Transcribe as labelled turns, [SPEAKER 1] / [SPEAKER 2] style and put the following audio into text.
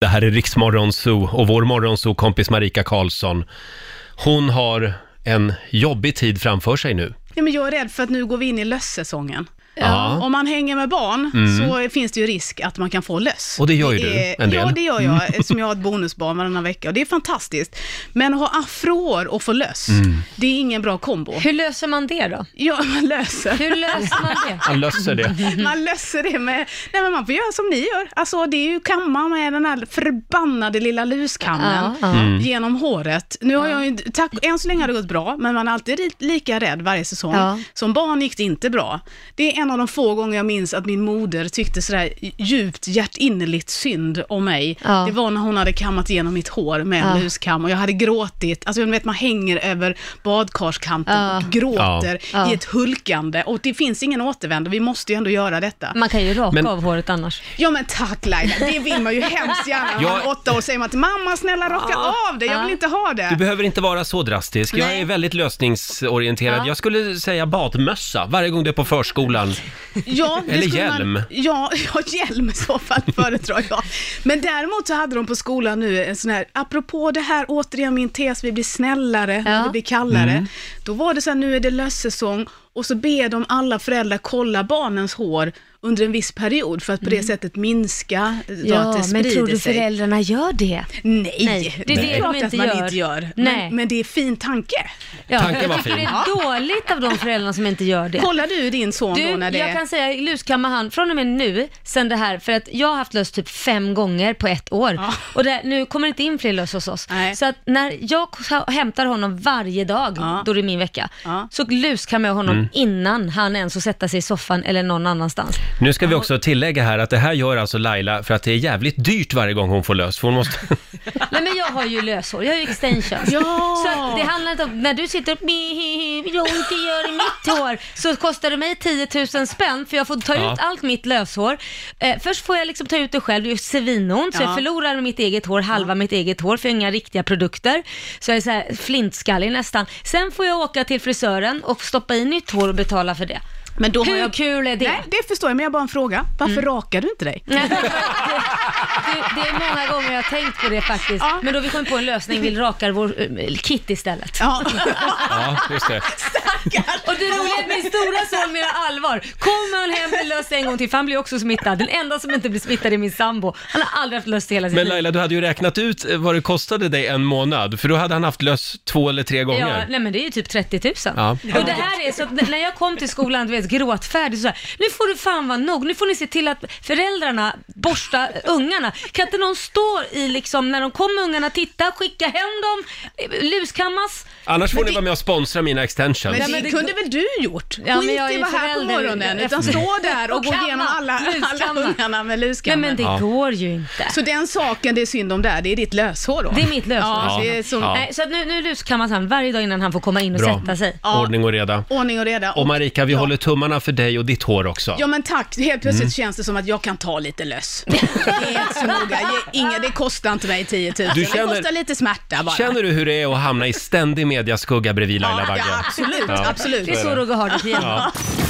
[SPEAKER 1] Det här är Riksmorgon Zoo och vår morgonzoo-kompis Marika Karlsson. Hon har en jobbig tid framför sig nu.
[SPEAKER 2] Ja, men jag är rädd för att nu går vi in i lössäsongen.
[SPEAKER 1] Ja.
[SPEAKER 2] Om man hänger med barn
[SPEAKER 1] Mm.
[SPEAKER 2] så finns det ju risk att man kan få löss.
[SPEAKER 1] Och det gör ju du, en del. Mm.
[SPEAKER 2] Ja, det gör jag, som jag har ett bonusbarn varannan vecka och det är fantastiskt. Men att ha afroår och få löss,
[SPEAKER 1] Mm.
[SPEAKER 2] det är ingen bra kombo.
[SPEAKER 3] Hur löser man det då?
[SPEAKER 2] Ja, man löser.
[SPEAKER 3] Hur löser man det?
[SPEAKER 1] Han löser det.
[SPEAKER 2] Man löser det med... Nej, men man får göra som ni gör. Alltså, det är ju kamma med den här förbannade lilla luskammen
[SPEAKER 3] Ja, ja.
[SPEAKER 1] Mm.
[SPEAKER 2] genom håret. Nu har jag ju... inte- Tack, än så länge har det gått bra, men man är alltid ri- lika rädd varje säsong.
[SPEAKER 3] Ja.
[SPEAKER 2] Som barn gick det inte bra. Det är en av de få gånger jag minns att min moder tyckte sådär djupt hjärtinnerligt synd om mig.
[SPEAKER 3] Ja.
[SPEAKER 2] Det var när hon hade kammat igenom mitt hår med en
[SPEAKER 3] Ja.
[SPEAKER 2] luskam och jag hade gråtit. Alltså, du vet, man hänger över badkarskanten
[SPEAKER 3] Ja.
[SPEAKER 2] och gråter
[SPEAKER 3] Ja. Ja.
[SPEAKER 2] i ett hulkande och det finns ingen återvändo, vi måste ju ändå göra detta.
[SPEAKER 3] Man kan ju raka
[SPEAKER 1] Men-
[SPEAKER 3] av håret annars.
[SPEAKER 2] Ja men tack Laila, det vill man ju hemskt gärna. Om
[SPEAKER 1] Ja.
[SPEAKER 2] man är åtta år säger man till mamma, snälla raka av det, jag
[SPEAKER 3] Ja.
[SPEAKER 2] vill inte ha
[SPEAKER 1] Du
[SPEAKER 2] det.
[SPEAKER 1] behöver inte vara så drastisk. Jag
[SPEAKER 2] Nej.
[SPEAKER 1] är väldigt lösningsorienterad.
[SPEAKER 3] Ja.
[SPEAKER 1] Jag skulle säga badmössa varje gång du är på förskolan.
[SPEAKER 2] Ja, det
[SPEAKER 1] Eller
[SPEAKER 2] skulle
[SPEAKER 1] hjälm.
[SPEAKER 2] Man, ja, ja, hjälm i så fall föredrar jag. Men däremot så hade de på skolan nu en sån här, apropå det här återigen min tes, vi blir snällare när
[SPEAKER 3] Ja.
[SPEAKER 2] det blir kallare.
[SPEAKER 1] Mm.
[SPEAKER 2] Då var det så här, nu är det lössäsong och så ber de alla föräldrar kolla barnens hår under en viss period för att på
[SPEAKER 3] Mm.
[SPEAKER 2] det sättet minska eh, då att det sprider sig.
[SPEAKER 3] föräldrarna gör det?
[SPEAKER 2] Nej,
[SPEAKER 3] Nej, det är det de
[SPEAKER 2] klart
[SPEAKER 3] inte
[SPEAKER 2] att man
[SPEAKER 3] gör.
[SPEAKER 2] inte gör.
[SPEAKER 3] Nej.
[SPEAKER 2] Men, men det är fin tanke.
[SPEAKER 3] Ja,
[SPEAKER 1] Tanken var
[SPEAKER 3] jag tycker
[SPEAKER 1] fin.
[SPEAKER 3] det är dåligt av de föräldrarna som inte gör det.
[SPEAKER 2] Kollar du din son
[SPEAKER 3] Du,
[SPEAKER 2] då när det
[SPEAKER 3] jag kan säga luskamma han från och med nu, sen det här, för att jag har haft löss typ fem gånger på ett år.
[SPEAKER 2] Ja.
[SPEAKER 3] Och det, nu kommer det inte in fler löss hos oss.
[SPEAKER 2] Nej.
[SPEAKER 3] Så att när jag k- hämtar honom varje dag,
[SPEAKER 2] Ja.
[SPEAKER 3] då det är min vecka,
[SPEAKER 2] Ja.
[SPEAKER 3] så luskammar jag
[SPEAKER 1] Mm.
[SPEAKER 3] honom innan han ens får sätta sig i soffan eller någon annanstans.
[SPEAKER 1] Nu ska vi också tillägga här att det här gör alltså Laila för att det är jävligt dyrt varje gång hon får lös. För hon måste...
[SPEAKER 3] Nej men jag har ju löshår, jag har ju extensions.
[SPEAKER 2] Ja.
[SPEAKER 3] Så att det handlar inte om, när du sitter och "Meh, jag inte gör i mitt hår, så kostar det mig 10 000 spänn för jag får ta
[SPEAKER 1] Ja.
[SPEAKER 3] ut allt mitt löshår. Eh, först får jag liksom ta ut det själv, det gör svinont, så
[SPEAKER 2] Ja.
[SPEAKER 3] jag förlorar mitt eget hår, halva mitt eget hår, för jag har inga riktiga produkter. Så jag är så här flintskallig nästan. Sen får jag åka till frisören och stoppa i nytt hår och betala för det.
[SPEAKER 2] Men då har
[SPEAKER 3] Hur
[SPEAKER 2] jag...
[SPEAKER 3] kul är det? Mm.
[SPEAKER 2] Nej, det förstår jag, men jag har bara en fråga. Varför rakar du inte dig?
[SPEAKER 3] Nej, det, det, det är många gånger jag har tänkt på det faktiskt.
[SPEAKER 2] Ja.
[SPEAKER 3] Men då vi kom på en lösning, vi rakar vår eh, kit istället.
[SPEAKER 2] Ja.
[SPEAKER 1] Ja, just det.
[SPEAKER 3] Och det roliga är att min stora son menar allvar. Kommer han hem med löss en gång till, för han blir också smittad. Den enda som inte blir smittad är min sambo. Han har aldrig haft löss i hela sitt
[SPEAKER 1] Men
[SPEAKER 3] liv.
[SPEAKER 1] Laila, du hade ju räknat ut eh, vad det kostade dig en månad, för då hade han haft lös två eller tre
[SPEAKER 3] Ja,
[SPEAKER 1] gånger.
[SPEAKER 3] nej men det är ju typ 30 000.
[SPEAKER 1] Ja.
[SPEAKER 3] Och det här är så att när jag kom till skolan, du vet, gråtfärdig så här, nu får du fan vara nog, nu får ni se till att föräldrarna borstar ungarna. Kan inte någon stå i liksom, när de kommer ungarna, titta, skicka hem dem, eh, luskammas.
[SPEAKER 1] Annars får
[SPEAKER 3] Men
[SPEAKER 1] ni
[SPEAKER 3] det-
[SPEAKER 1] vara med och sponsra mina extensions.
[SPEAKER 2] Men
[SPEAKER 3] Ja,
[SPEAKER 2] det
[SPEAKER 3] men det-
[SPEAKER 2] kunde väl du gjort?
[SPEAKER 3] Ja, men
[SPEAKER 2] Skit
[SPEAKER 3] jag är
[SPEAKER 2] i
[SPEAKER 3] ju
[SPEAKER 2] att vara här på
[SPEAKER 3] förälder.
[SPEAKER 2] morgonen,
[SPEAKER 3] Jag-
[SPEAKER 2] utan stå där och,
[SPEAKER 3] Och
[SPEAKER 2] gå
[SPEAKER 3] kamma.
[SPEAKER 2] igenom alla, alla
[SPEAKER 3] Luskamma.
[SPEAKER 2] ungarna med
[SPEAKER 3] Nej
[SPEAKER 2] luskammen.
[SPEAKER 3] men det
[SPEAKER 1] Ja.
[SPEAKER 3] går ju inte.
[SPEAKER 2] Så den saken det är synd om där, det är ditt löshår då?
[SPEAKER 3] Det är mitt löshår.
[SPEAKER 1] Ja.
[SPEAKER 2] Ja, det är som...
[SPEAKER 1] Ja.
[SPEAKER 3] Nej, så att nu, nu luskammas han varje dag innan han får komma in och
[SPEAKER 1] Bra.
[SPEAKER 3] sätta sig.
[SPEAKER 2] Ja.
[SPEAKER 1] Ordning och reda.
[SPEAKER 2] Ordning och reda.
[SPEAKER 1] Och Marika, vi håller tummarna för dig och ditt hår också.
[SPEAKER 2] Ja men tack, helt plötsligt
[SPEAKER 1] Mm.
[SPEAKER 2] känns det som att jag kan ta lite löss. Det är inte så noga, det, är inga, det kostar inte mig 10 000.
[SPEAKER 1] Du
[SPEAKER 2] Det
[SPEAKER 1] känner-
[SPEAKER 2] kostar lite smärta bara.
[SPEAKER 1] Känner du hur det är att hamna i ständig mediaskugga bredvid Laila
[SPEAKER 2] ja,
[SPEAKER 1] Bagge?
[SPEAKER 2] ja, absolut,
[SPEAKER 1] Ja.
[SPEAKER 2] absolut.
[SPEAKER 3] Det är så Roger har det. Ja.
[SPEAKER 1] Ja.